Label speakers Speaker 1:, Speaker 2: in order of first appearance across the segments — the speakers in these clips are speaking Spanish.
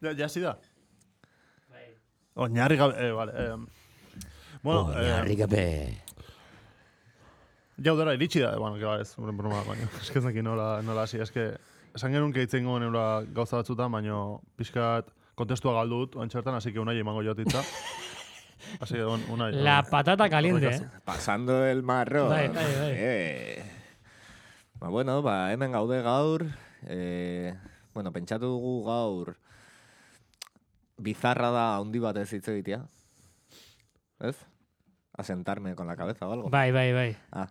Speaker 1: Ja, jasi da? Oinarri gabe, eh, vale. Eh, bueno,
Speaker 2: Oh, Eh,
Speaker 3: Oinarri gabe.
Speaker 1: eh, jaudera iritsi da, bueno, gara ez, bren broma, baina, eske ez dakit nola, nola hasi, eske, esan genuen keitzen goen eura gauza batzutan, baino, pixkat, kontestua galdu dut, ontsertan, así que unai emango jotitza. Así que, un, unai.
Speaker 4: La patata caliente, eh?
Speaker 2: Pasando el marro.
Speaker 4: Bai, bai, bai.
Speaker 2: Eh. Ba, bueno, ba, hemen gaude gaur. Eh, bueno, pentsatu dugu gaur bizarra da handi batez hitz egitea. ¿Ez? Asentarme con la cabeza o algo.
Speaker 4: Bai, bai, bai.
Speaker 2: Ah.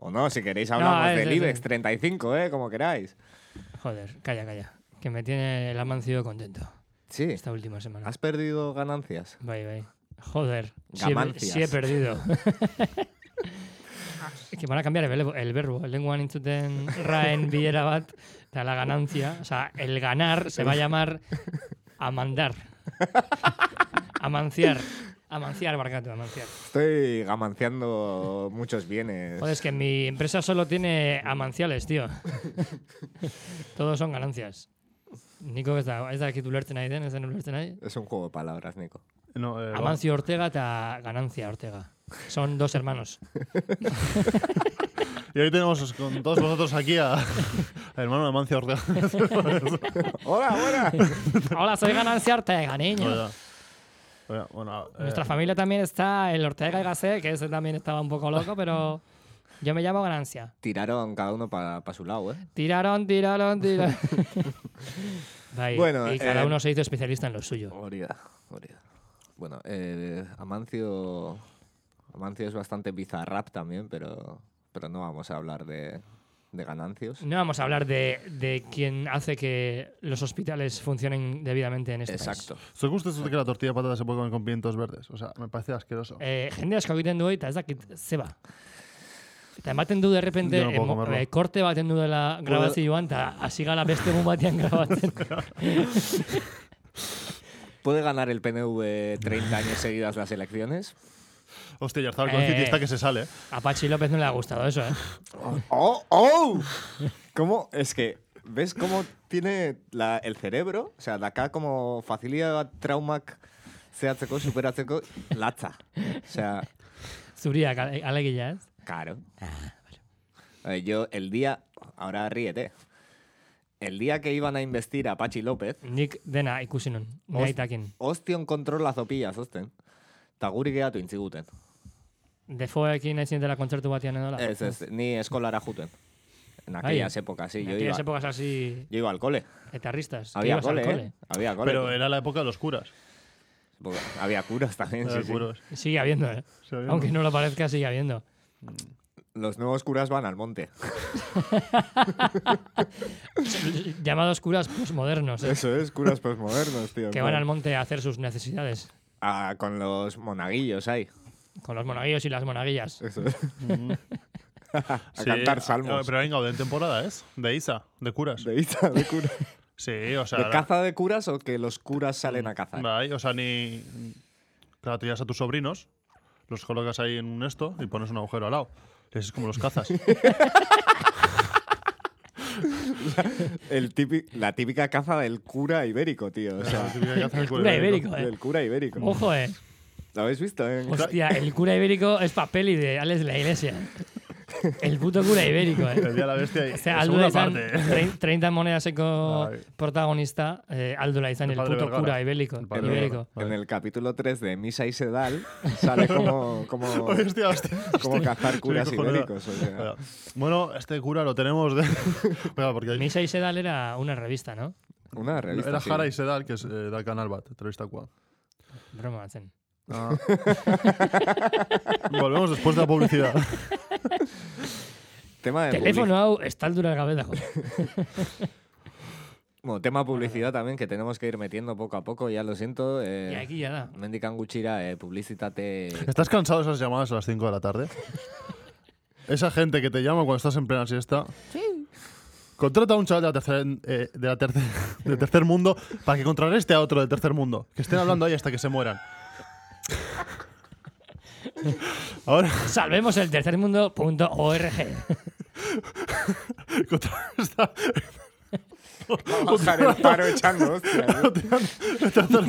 Speaker 2: O no, si queréis hablamos
Speaker 4: es,
Speaker 2: del
Speaker 4: es,
Speaker 2: IBEX
Speaker 4: es.
Speaker 2: 35, eh, como queráis.
Speaker 4: Joder, calla, calla. Que me tiene el amancio contento
Speaker 2: Sí.
Speaker 4: esta última semana.
Speaker 2: ¿Has perdido ganancias?
Speaker 4: Bai, bai. Joder, sí he, per- sí he
Speaker 2: Gamancias.
Speaker 4: perdido. que van a cambiar el, verbo- el verbo. Lenguan intzuten raen bilera bat, da la ganancia. O sea, el ganar se va a llamar amandar. Amanciar. Amanciar, barcato, amanciar.
Speaker 2: Estoy gamanciando muchos bienes.
Speaker 4: Joder, es que mi empresa solo tiene amanciales, tío. Todos son ganancias. Nico ez da, ez da kitu lertzen nahi den, ez den ulertzen nahi.
Speaker 2: Es un juego de palabras, Nico.
Speaker 1: No, eh, ba,
Speaker 4: Amancio Ortega eta Ganancia Ortega. Son dos hermanos.
Speaker 1: y hoy tenemos con todos vosotros aquí a, a hermano de Mancio Ortega.
Speaker 2: ¡Hola, hola!
Speaker 4: Hola, soy Ganancia Ortega, niño.
Speaker 1: Oiga. Oiga, bueno, eh,
Speaker 4: Nuestra familia también está el Ortega y Gasset, que ese también estaba un poco loco, pero yo me llamo Ganancia.
Speaker 2: Tiraron cada uno para su lado, ¿eh?
Speaker 4: Tiraron, tiraron, tiraron. Bai,
Speaker 2: Bueno,
Speaker 4: y cada
Speaker 2: eh,
Speaker 4: uno se hizo especialista en lo suyo.
Speaker 2: Hori da, hori da. Bueno, eh, Amancio... Amancio es bastante bizarrap también, pero, pero no vamos a hablar de, de ganancios.
Speaker 4: No vamos a hablar de, de quién hace que los hospitales funcionen debidamente en este país.
Speaker 2: Exacto.
Speaker 1: ¿Zuek uste dut que la tortilla de patata se puede comer con pimientos verdes? O sea, me parece asqueroso.
Speaker 4: Eh, jende asko egiten du eta ez dakit zeba. Eta ematen du derrepente
Speaker 1: Yo no puedo
Speaker 4: emo-
Speaker 1: comerlo.
Speaker 4: eh, korte baten du dela grabazioan eta hasi gala beste egun batean grabatzen.
Speaker 2: ¿Puede ganar el PNV 30 años seguidas las elecciones?
Speaker 1: Hostia, ya estaba con
Speaker 4: Eh.
Speaker 1: City está que se sale.
Speaker 4: A Pachi López no le ha gustado eso, ¿eh?
Speaker 2: ¡Oh! ¡Oh! ¿Cómo? Es que, ¿ves cómo tiene la, el cerebro? O sea, de acá como facilidad traumac zehatzeko, superatzeko, latza. O sea,
Speaker 4: Zuriak ale- alegia, ez?
Speaker 2: Claro.
Speaker 4: Ah,
Speaker 2: Eh, Yo el día, ahora ríete, el día que iban a investir a Pachi López,
Speaker 4: Nik dena ikusi nun, nahi takin.
Speaker 2: ostion kontrola zopia zozten, eta guri gehatu intziguten.
Speaker 4: Defoekin ezin dela kontzertu batean edo la.
Speaker 2: Ez, ez, ni eskolara juten. En aquellas épocas, sí, yo iba,
Speaker 4: aquellas épocas así
Speaker 2: yo iba al cole.
Speaker 4: etarristas. que
Speaker 2: Había
Speaker 4: ibas al
Speaker 2: cole, ¿eh? Había cole.
Speaker 1: Pero era la época de los curas.
Speaker 2: Porque Había curas también,
Speaker 1: Era
Speaker 2: sí, sí.
Speaker 1: curos.
Speaker 4: Sigue habiendo, ¿eh?
Speaker 1: Sigue habiendo.
Speaker 4: Aunque no lo parezca, sigue habiendo.
Speaker 2: Los nuevos curas van al monte.
Speaker 4: Llamados curas posmodernos, ¿eh?
Speaker 2: Eso es, curas postmodernos, tío.
Speaker 4: que van al monte a hacer sus necesidades.
Speaker 2: Ah, con los monaguillos ahí.
Speaker 4: Con los monaguillos y las monaguillas.
Speaker 1: Eh,
Speaker 2: Eso es. a
Speaker 1: Sí,
Speaker 2: cantar
Speaker 1: ah,
Speaker 2: salmos.
Speaker 1: Pero venga, de temporada es. De Isa, de curas.
Speaker 2: De ita, de cura.
Speaker 1: Sí, o sea.
Speaker 2: ¿De
Speaker 1: la-
Speaker 2: caza eh. de curas o que los curas salen
Speaker 4: Mm,
Speaker 2: a cazar?
Speaker 1: Bai, o sea, ni. Claro, tú llevas a tus sobrinos, los colocas ahí en un esto y pones un agujero al lado. Y así es como los cazas.
Speaker 2: El típi- la típica caza del cura ibérico, tío. O sea,
Speaker 4: Cura ibérico, eh.
Speaker 2: del cura ibérico.
Speaker 1: mm.
Speaker 4: Ojo, eh.
Speaker 2: ¿Lo habéis visto? eh?
Speaker 4: Hostia, el cura ibérico es papel ideal de la iglesia. El puto cura ibérico, eh.
Speaker 1: El día de la bestia y.
Speaker 4: O sea, Aldo
Speaker 1: segunda
Speaker 4: Laizan,
Speaker 1: parte.
Speaker 4: 30 monedaseco
Speaker 1: Ay.
Speaker 4: protagonista, eh, Aldo Laizan,
Speaker 1: El
Speaker 4: el
Speaker 1: padre
Speaker 4: puto
Speaker 1: Vergara.
Speaker 4: cura ibérico.
Speaker 1: El padre
Speaker 4: ibérico.
Speaker 2: En el capítulo 3 de Misa y Sedal sale como, como,
Speaker 1: Hostia, hostia.
Speaker 2: como cazar curas
Speaker 1: Sí, cojonuda.
Speaker 2: ibéricos. o sea.
Speaker 1: Oiga, Bueno, este cura lo tenemos de. Oiga, porque hay-
Speaker 4: Misa y Sedal era una revista, ¿no?
Speaker 2: Una revista.
Speaker 1: Era
Speaker 2: sí.
Speaker 1: Jara y Sedal, que es eh, da canal bat, entrevistakoa.
Speaker 4: Broma, hacen.
Speaker 1: Volvemos después de la publicidad.
Speaker 2: Tema de
Speaker 4: Telefono
Speaker 2: publici-
Speaker 4: hau estaldura gabe dago.
Speaker 2: Bueno, tema publicidad también que tenemos que ir metiendo poco a poco, ya lo siento.
Speaker 4: Y
Speaker 2: Eh,
Speaker 4: aquí ya da.
Speaker 2: Mendikan gutxira, eh, publicitate...
Speaker 1: ¿Estás cansado de esas llamadas a las 5 de la tarde? Esa gente que te llama cuando estás en plena siesta. Sí. Contrata a un chaval de, la tercer, eh, de, la tercer, de tercer mundo para que contrarreste a otro de tercer mundo. Que estén hablando ahí hasta que se mueran. Ahora,
Speaker 4: Salvemos el tercermundo.org.
Speaker 1: contrarresta.
Speaker 2: Bajar el paro echando hostias. ¿no?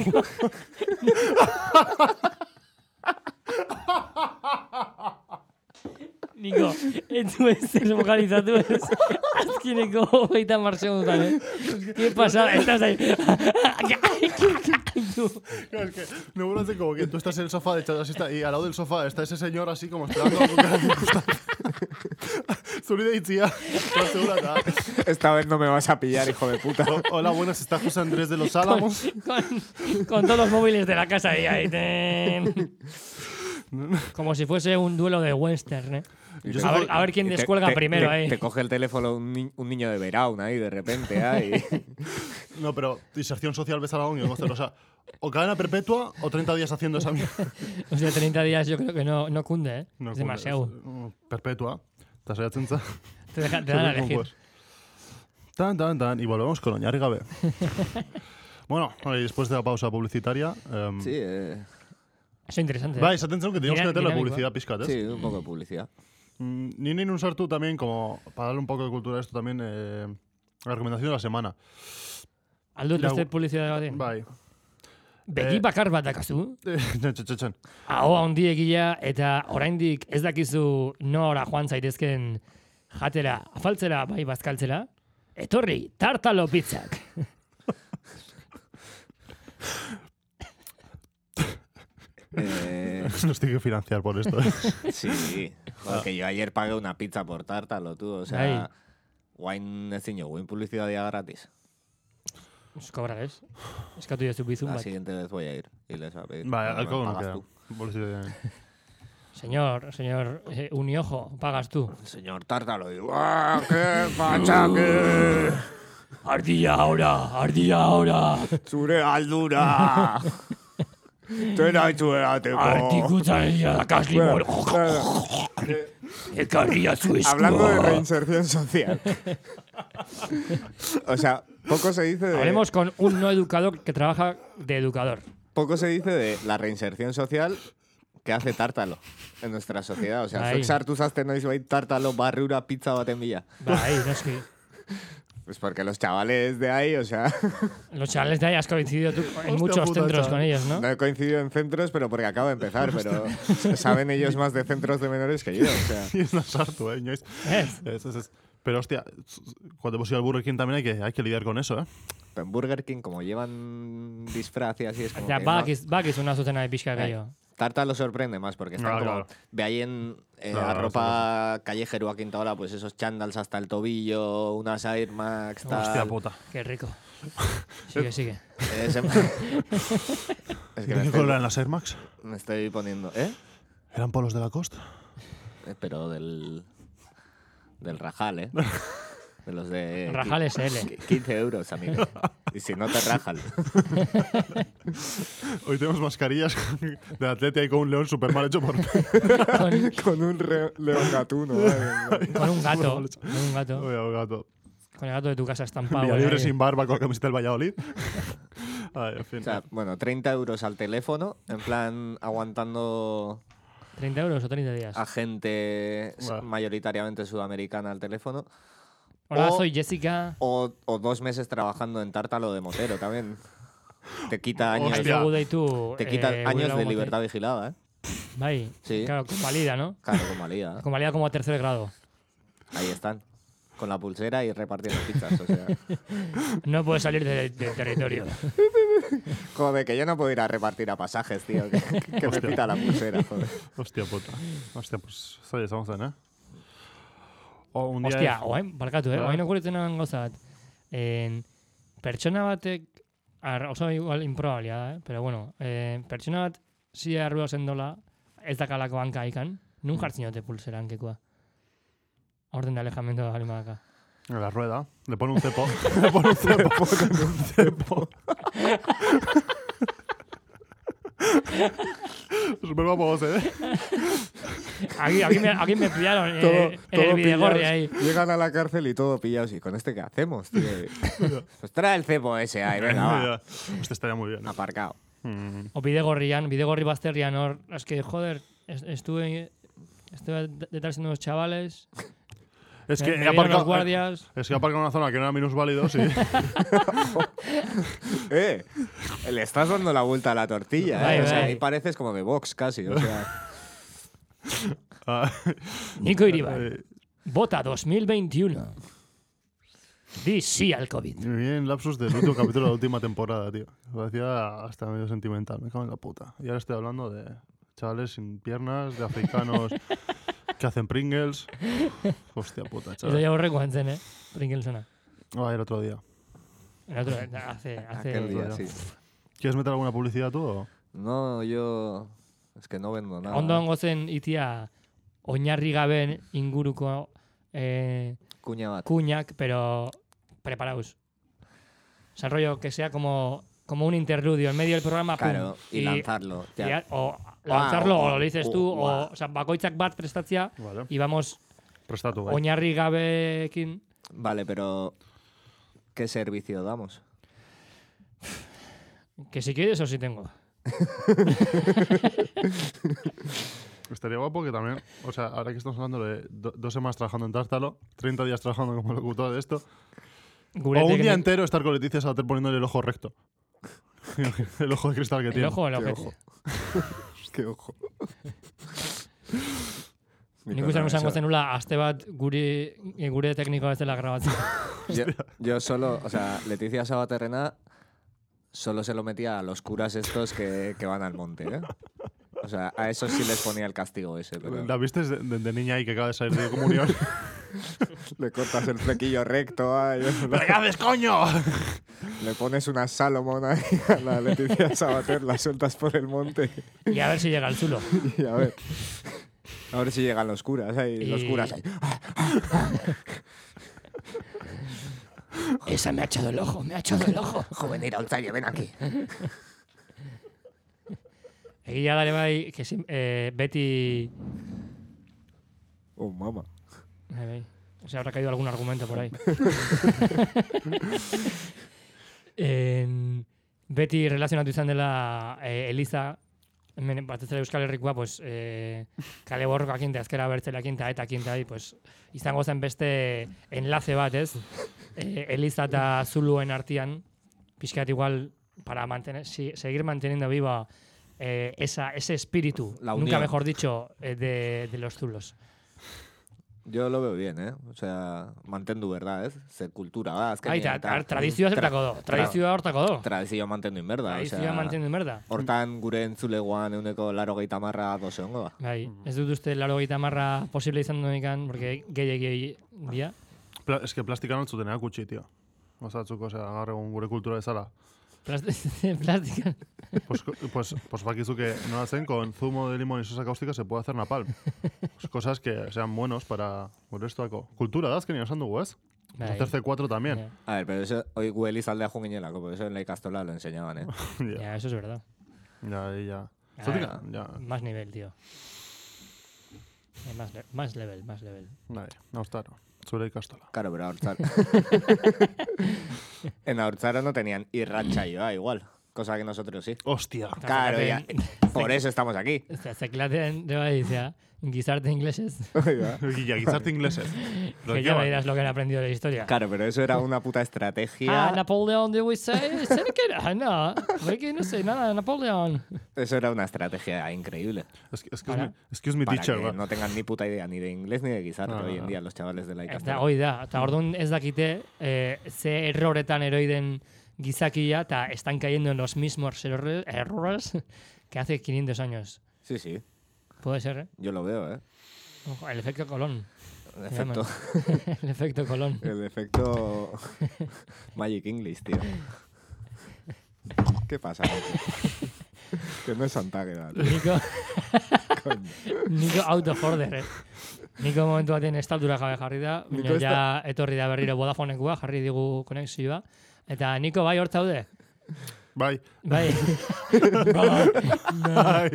Speaker 4: Niko, ez du ez ez vokalizatu ez. Azkineko hogeita hamar segundotan, eh? Ke pasa, ez da zain.
Speaker 1: Claro, es que me vuelvo a hacer como que tú estás en el sofá de echado así está, y al lado del sofá está ese señor así como esperando con cara de circunstancia. Zurida y tía.
Speaker 2: Esta vez no me vas a pillar, hijo de puta.
Speaker 1: Hola, buenas, está José Andrés de los Álamos.
Speaker 4: Con, con todos los móviles de la casa ahí, ahí. ten. Como si fuese un duelo de western, eh.
Speaker 2: Y
Speaker 4: A
Speaker 2: te-
Speaker 4: ver, a ver quién
Speaker 2: y te-
Speaker 4: descuelga
Speaker 2: te-
Speaker 4: primero
Speaker 2: te-
Speaker 4: ahí.
Speaker 2: Te coge el teléfono un, ni- un niño de Verón ahí de repente. Ahí.
Speaker 1: No, pero inserción social ves a la ONU, o sea, o cadena perpetua o 30 días haciendo esa mierda.
Speaker 4: O sea, 30 días yo creo que no, no cunde, ¿eh? es demasiado.
Speaker 1: Mm, Perpetua. Te has chuncha.
Speaker 4: Te, deja- te dan a elegir.
Speaker 1: Tan, tan, tan. Y volvemos con Oñar Gabe. bueno, y después de la pausa publicitaria. em,
Speaker 2: Sí, eh,
Speaker 4: Eso es interesante. ¿eh?
Speaker 1: Vais, atención que teníamos que
Speaker 4: Dina-
Speaker 1: meter la
Speaker 4: dinámico, ¿eh?
Speaker 1: publicidad, ¿eh? piscates.
Speaker 2: sí, un poco de publicidad.
Speaker 1: Mm, Ninin Unsartu también, como para darle un poco de cultura a esto también, eh, la recomendación de la semana.
Speaker 4: Aldo,
Speaker 1: La-
Speaker 4: ez publizitatea batean?
Speaker 1: Bai.
Speaker 4: Begi
Speaker 1: Eh,
Speaker 4: bakar bat dakazu,
Speaker 1: Txan, txan, txan.
Speaker 4: ahoa handiegia eta oraindik ez dakizu nora joan zaitezken jatera, afaltzera, bai bazkaltzera, etorri, tartalo pizzak.
Speaker 2: Eh,
Speaker 1: Nos tiene que financiar por esto.
Speaker 2: sí, joder, que yo ayer pagué una pizza por tártalo, tú. O sea, wine ez ino, wine publicidad ya gratis.
Speaker 4: Ez Kobra, ez? Eskatu jazu bizun
Speaker 1: Ah,
Speaker 2: La
Speaker 4: bat.
Speaker 2: siguiente vez voy a ir y les voy a pedir.
Speaker 1: Vale,
Speaker 2: Me
Speaker 1: alcohol no
Speaker 2: pagas
Speaker 1: queda. eh,
Speaker 2: tú.
Speaker 1: Publicidad.
Speaker 4: Señor, señor, eh, uniojo, pagas tú.
Speaker 2: Señor tártalo, digo, ¡ah, qué machaque!
Speaker 4: Ardilla ahora, ardilla ahora,
Speaker 2: ¡Zure aldura! ¡Tena itzuerateko!
Speaker 4: artikutzaria dakasli
Speaker 2: Bueno,
Speaker 4: mor,
Speaker 2: claro,
Speaker 4: ekarria zu eskua.
Speaker 2: Hablando de reinserción social. o sea, poco se dice de.
Speaker 4: Hablemos con un no educador que trabaja de educador.
Speaker 2: Poco se dice de la reinserción social que hace Tártalo en nuestra sociedad. O sea,
Speaker 4: Ahí.
Speaker 2: zuk sartu zazten noiz bai Tártalo barrura pizza baten bila.
Speaker 4: Bai, noski.
Speaker 2: Pues porque los chavales de ahí, o sea,
Speaker 4: Los chavales de ahí has coincidido tú en
Speaker 1: Hostia
Speaker 4: muchos
Speaker 1: puta,
Speaker 4: centros
Speaker 1: chaval.
Speaker 4: con ellos, ¿no?
Speaker 2: no he coincidido en centros, pero porque acabo de empezar, pero saben ellos más de centros de menores que yo, o sea.
Speaker 1: Y es una sartu, ¿eh? ñois?
Speaker 4: Es.
Speaker 1: Es, es, es. Pero hostia, cuando hemos ido al Burger King también hay que, hay que lidiar con eso, ¿eh?
Speaker 2: En Burger King, como llevan disfraz y así, es como
Speaker 4: Eta
Speaker 2: que no-
Speaker 4: bakiz, bakizuna zuzena pixka gehiago.
Speaker 2: Tartalo sorprende más porque están
Speaker 1: No,
Speaker 2: como.
Speaker 1: claro.
Speaker 2: Ve ahí en eh,
Speaker 1: Claro,
Speaker 2: la
Speaker 1: claro,
Speaker 2: ropa callejero a quinta hora, pues esos chándals hasta el tobillo, unas Air Max, tal.
Speaker 1: Hostia puta.
Speaker 4: Qué rico. Sigue, sigue.
Speaker 2: Eh, se-
Speaker 1: ¿Qué
Speaker 2: es que me
Speaker 1: color
Speaker 2: estoy,
Speaker 1: eran las Air Max?
Speaker 2: me estoy poniendo. ¿Eh?
Speaker 1: ¿Eran polos de la costa?
Speaker 2: Eh, Pero del. Del Rajal, ¿eh? De los de.
Speaker 4: Rajal SL.
Speaker 2: 15 euros, amigo. Y si no te rajan.
Speaker 1: Hoy tenemos mascarillas de atleta y con un león súper mal hecho por mí.
Speaker 4: Con,
Speaker 2: Con un león gatuno.
Speaker 4: con un gato. Con un gato.
Speaker 1: Oye, oh, gato.
Speaker 4: Con el gato de tu casa estampado. ¿eh?
Speaker 1: Villalibre
Speaker 4: ahí.
Speaker 1: sin ba- barba con la camiseta del Valladolid. Ay, en fin.
Speaker 2: O sea, bueno, 30 euros al teléfono, en plan aguantando
Speaker 4: 30 euros o 30 días.
Speaker 2: a gente s-
Speaker 1: Buah.
Speaker 2: mayoritariamente sudamericana al teléfono.
Speaker 4: Hola,
Speaker 2: o-
Speaker 4: soy Jessica.
Speaker 2: O, o dos meses trabajando en tártalo de motero también. Te quita años,
Speaker 1: Hostia.
Speaker 4: Aizu deitu.
Speaker 2: te quita
Speaker 4: eh,
Speaker 2: años
Speaker 4: Wilhelm
Speaker 2: de
Speaker 4: Motel.
Speaker 2: libertad vigilada, ¿eh?
Speaker 4: Bai,
Speaker 2: Sí.
Speaker 4: claro, convalida, ¿no?
Speaker 2: Claro, con valía.
Speaker 4: Convalida como a tercer grado.
Speaker 2: ¿eh? Ahí están. Con la pulsera y repartiendo pizzas. O sea.
Speaker 4: No puedes salir de- del territorio.
Speaker 2: Joder, que yo no puedo ir a repartir a pasajes, tío. Que, que me
Speaker 1: Hostia.
Speaker 2: pita la pulsera, joder.
Speaker 1: Hostia puta. Hostia, pues zaila izango zen, eh? O, un día
Speaker 4: Hostia,
Speaker 1: ez-
Speaker 4: oain, barkatu, eh?
Speaker 1: Bai.
Speaker 4: Oain okuritzen nagoen gauza bat. En, pertsona batek, ar, oso igual improbabilia da, eh? Pero bueno, eh, pertsona bat, zia arrua sendola, ez dakalako hanka ikan, nun
Speaker 2: Mm.
Speaker 4: jartzen jote pulsera hankekoa. Orden de alejamiento da balima daka.
Speaker 1: En la rueda. Le pone un cepo. Le pone un cepo. pone un cepo. Super guapos, ¿eh?
Speaker 4: Aquí, aquí, me, aquí me pillaron eh, en el videogorri ahí.
Speaker 2: Llegan a la cárcel y todo pillados. ¿Y con este qué hacemos, tío? pues trae el cepo ese ahí, venga, va.
Speaker 1: Mira, Hostia, estaría muy bien. ¿eh?
Speaker 2: Aparcado.
Speaker 1: Mm.
Speaker 4: O bidegorrian, bidegorri bazterrian hor, es que, joder, es- estuve, estuve detrás de unos chavales
Speaker 1: Es que
Speaker 4: Me
Speaker 1: he
Speaker 4: dieron los
Speaker 1: aparcado. eh,
Speaker 4: guardias.
Speaker 1: Es que he aparcado en una zona que no era minusválidos y.
Speaker 2: Eh, le estás dando la vuelta a la tortilla,
Speaker 4: Vale,
Speaker 2: eh. O sea,
Speaker 4: vale.
Speaker 2: ahí pareces como de Vox casi. O sea,
Speaker 1: Ah,
Speaker 4: Nico Iribar.
Speaker 1: eh,
Speaker 4: Vota 2021. Di sí al COVID.
Speaker 1: Muy bien, lapsus del último capítulo de la última temporada, tío. Parecía hasta medio sentimental, me cago en la puta. Y ahora estoy hablando de chavales sin piernas, de africanos que hacen Pringles. Hostia puta,
Speaker 4: Eso
Speaker 1: chaval.
Speaker 4: ya borré cuando eh. Pringelsona.
Speaker 1: Ah, el otro día.
Speaker 4: El otro, hace, hace
Speaker 2: aquel día,
Speaker 1: ya.
Speaker 2: sí.
Speaker 1: ¿Quieres meter alguna publicidad tú? o?
Speaker 2: No, yo. Es que no vendo nada.
Speaker 4: Ondo gozen itia oinarri gaben inguruko eh,
Speaker 2: Cuña bat.
Speaker 4: kuñak, pero preparaos. O sea, rollo que sea como, como un interludio en medio del programa. pum,
Speaker 2: Claro, y, lanzarlo.
Speaker 4: y
Speaker 2: ya.
Speaker 4: a- o lanzarlo,
Speaker 2: Guau,
Speaker 4: o lo dices tú,
Speaker 2: guau.
Speaker 4: o, o sea, bakoitzak bat prestatzea,
Speaker 1: Vale.
Speaker 4: y vamos
Speaker 1: Presta tu, bai.
Speaker 4: oinarri gabekin.
Speaker 2: Vale, pero. ¿Qué servicio damos?
Speaker 4: Que si quieres, o si tengo.
Speaker 1: Estaría guapo que también, o sea, ahora que estamos hablando de do- dos semanas trabajando en Tártalo, 30 días trabajando como locutor de esto,
Speaker 4: Gurete
Speaker 1: o un
Speaker 4: que
Speaker 1: día
Speaker 4: no-
Speaker 1: entero estar con Leticia Sabater poniéndole el ojo recto. el ojo de cristal que
Speaker 4: el
Speaker 1: tiene.
Speaker 4: Eh, ojo o el
Speaker 2: Qué
Speaker 4: ojete.
Speaker 2: ojo. Qué ojo.
Speaker 4: Nik uste esan zenula, aste bat guri, gure teknikoa ez dela grabatzen.
Speaker 2: Yo, yo solo, o sea, Leticia Sabaterrena solo se lo metía a los curas estos que, que van al monte, ¿eh? O sea, a esos sí les ponía el castigo ese, pero
Speaker 1: La viste de, de- de niña ahí que acaba de salir de comunión.
Speaker 2: le cortas el flequillo recto, ay,
Speaker 1: ¿Pero qué haces, coño?
Speaker 2: le pones una Salomón ahí a la Leticia Sabater, la sueltas por el monte
Speaker 4: Y a ver si llega el zulo.
Speaker 2: y a ver. Eh. A ver si llegan los curas ahí, los
Speaker 4: Y-
Speaker 2: curas ahí.
Speaker 4: Esa me ha echado el ojo, me ha echado el ojo.
Speaker 2: Joven Iraultzaile, ven aquí.
Speaker 4: Egia da ere bai, que sin- eh, beti...
Speaker 2: Oh, mamá.
Speaker 4: Ai, bai. Se habrá caído algún argumento por ahí. En- beti relazionatu izan dela eh, Eliza, hemen batez ere Euskal Herrikoa, pues, eh, kale borrokakin, eta azkera bertzeleakin, eta etakin, eta pues, izango zen beste enlace bat, ez? Eh, Eliza eta Zuluen artean, pixkat igual, para mantener, si- seguir manteniendo viva eh, esa, ese espíritu,
Speaker 2: La
Speaker 4: nunca
Speaker 2: unión.
Speaker 4: mejor dicho, eh, de, de los Zulos.
Speaker 2: Yo lo veo bien, ¿eh? O sea, mantendu, ¿verdad? ¿eh? Ze kultura da, azkenean.
Speaker 4: Aita,
Speaker 2: eta-
Speaker 4: tradizioa zertako do. Tradizioa hortako do.
Speaker 2: Tradizioa mantendu inberda.
Speaker 4: Tradizioa mantendu merda.
Speaker 2: Hortan gure entzulegoan euneko laro gehieta marra doze hongo da.
Speaker 4: Bai, ez dut uste laro gita marra posible izan duenekan, porque gehi gehi dia.
Speaker 1: Pla- es que plastikan altzutenea kutsi, tío. Osatzuk, osea, gaur egun gure kultura bezala.
Speaker 4: Plast- Plástica.
Speaker 1: Pues, co- pues, pues bakizu que no hacen con zumo de limón y sosa cáustica se puede hacer napalm. Pues cosas que sean buenos para gure estuako. Kultura da, azkenean esan dugu, ez?
Speaker 4: Bai.
Speaker 1: Terce 4 también.
Speaker 2: A ver, pero eso, hoy Gueli saldea junginelako, pero eso en la ikastola lo enseñaban, ¿eh?
Speaker 1: Ya,
Speaker 4: Ya, eso es verdad.
Speaker 1: ya, ya.
Speaker 4: Ah,
Speaker 1: Zotika, ya.
Speaker 4: Más nivel, tío. Eh, Más, le- más level, más level.
Speaker 1: Bai, naustaro. Zure ikastola.
Speaker 2: Claro, pero Hortzara. en Hortzara no tenían irratsaioa igual, cosa que nosotros sí.
Speaker 1: Hostia.
Speaker 2: Claro, ya. Por eso estamos aquí.
Speaker 4: Eta zeklatean, de bai, zea, gizarte inglesez.
Speaker 1: Ya, gizarte ingleses.
Speaker 4: Que ya me dirás lo que han aprendido de la historia.
Speaker 2: Claro, pero eso era una puta
Speaker 4: Ah,
Speaker 2: estrategia.
Speaker 4: Napoleón de Wisei, ¿sabes qué era? Ah, No, porque no sé nada de Napoleón.
Speaker 2: Eso era una estrategia increíble.
Speaker 1: Excuse
Speaker 4: Ahora.
Speaker 1: me, excuse me,
Speaker 2: Para que
Speaker 1: teacher. va.
Speaker 2: no tengan ni puta idea ni de inglés ni de guisarte
Speaker 1: No, no,
Speaker 2: hoy en
Speaker 1: no.
Speaker 2: día los chavales de la
Speaker 4: Eta,
Speaker 2: ikastola.
Speaker 4: hoi da, eta orduan ez dakite eh, ze erroretan eroiden gizakia eta están cayendo en los mismos errores- errores que hace 500 años.
Speaker 2: Sí, sí,
Speaker 4: Puede ser, ¿eh?
Speaker 2: yo lo veo, ¿eh?
Speaker 4: Ojo, el efecto Colón.
Speaker 2: El efecto,
Speaker 4: el efecto Colón.
Speaker 2: el efecto Magic English, tío. ¿Qué pasa? Nacho? que no es Santa Gueda, tío.
Speaker 4: Nico, Nico out of order, eh? Nico momentu baten estatura jabe jarri da,
Speaker 2: Nico
Speaker 4: baina
Speaker 2: ez da-
Speaker 4: ja etorri da berriro Vodafonekua, jarri digu konexioa. Eta Niko bai hor zaude?
Speaker 1: Bai.
Speaker 4: Bai.
Speaker 1: Bai.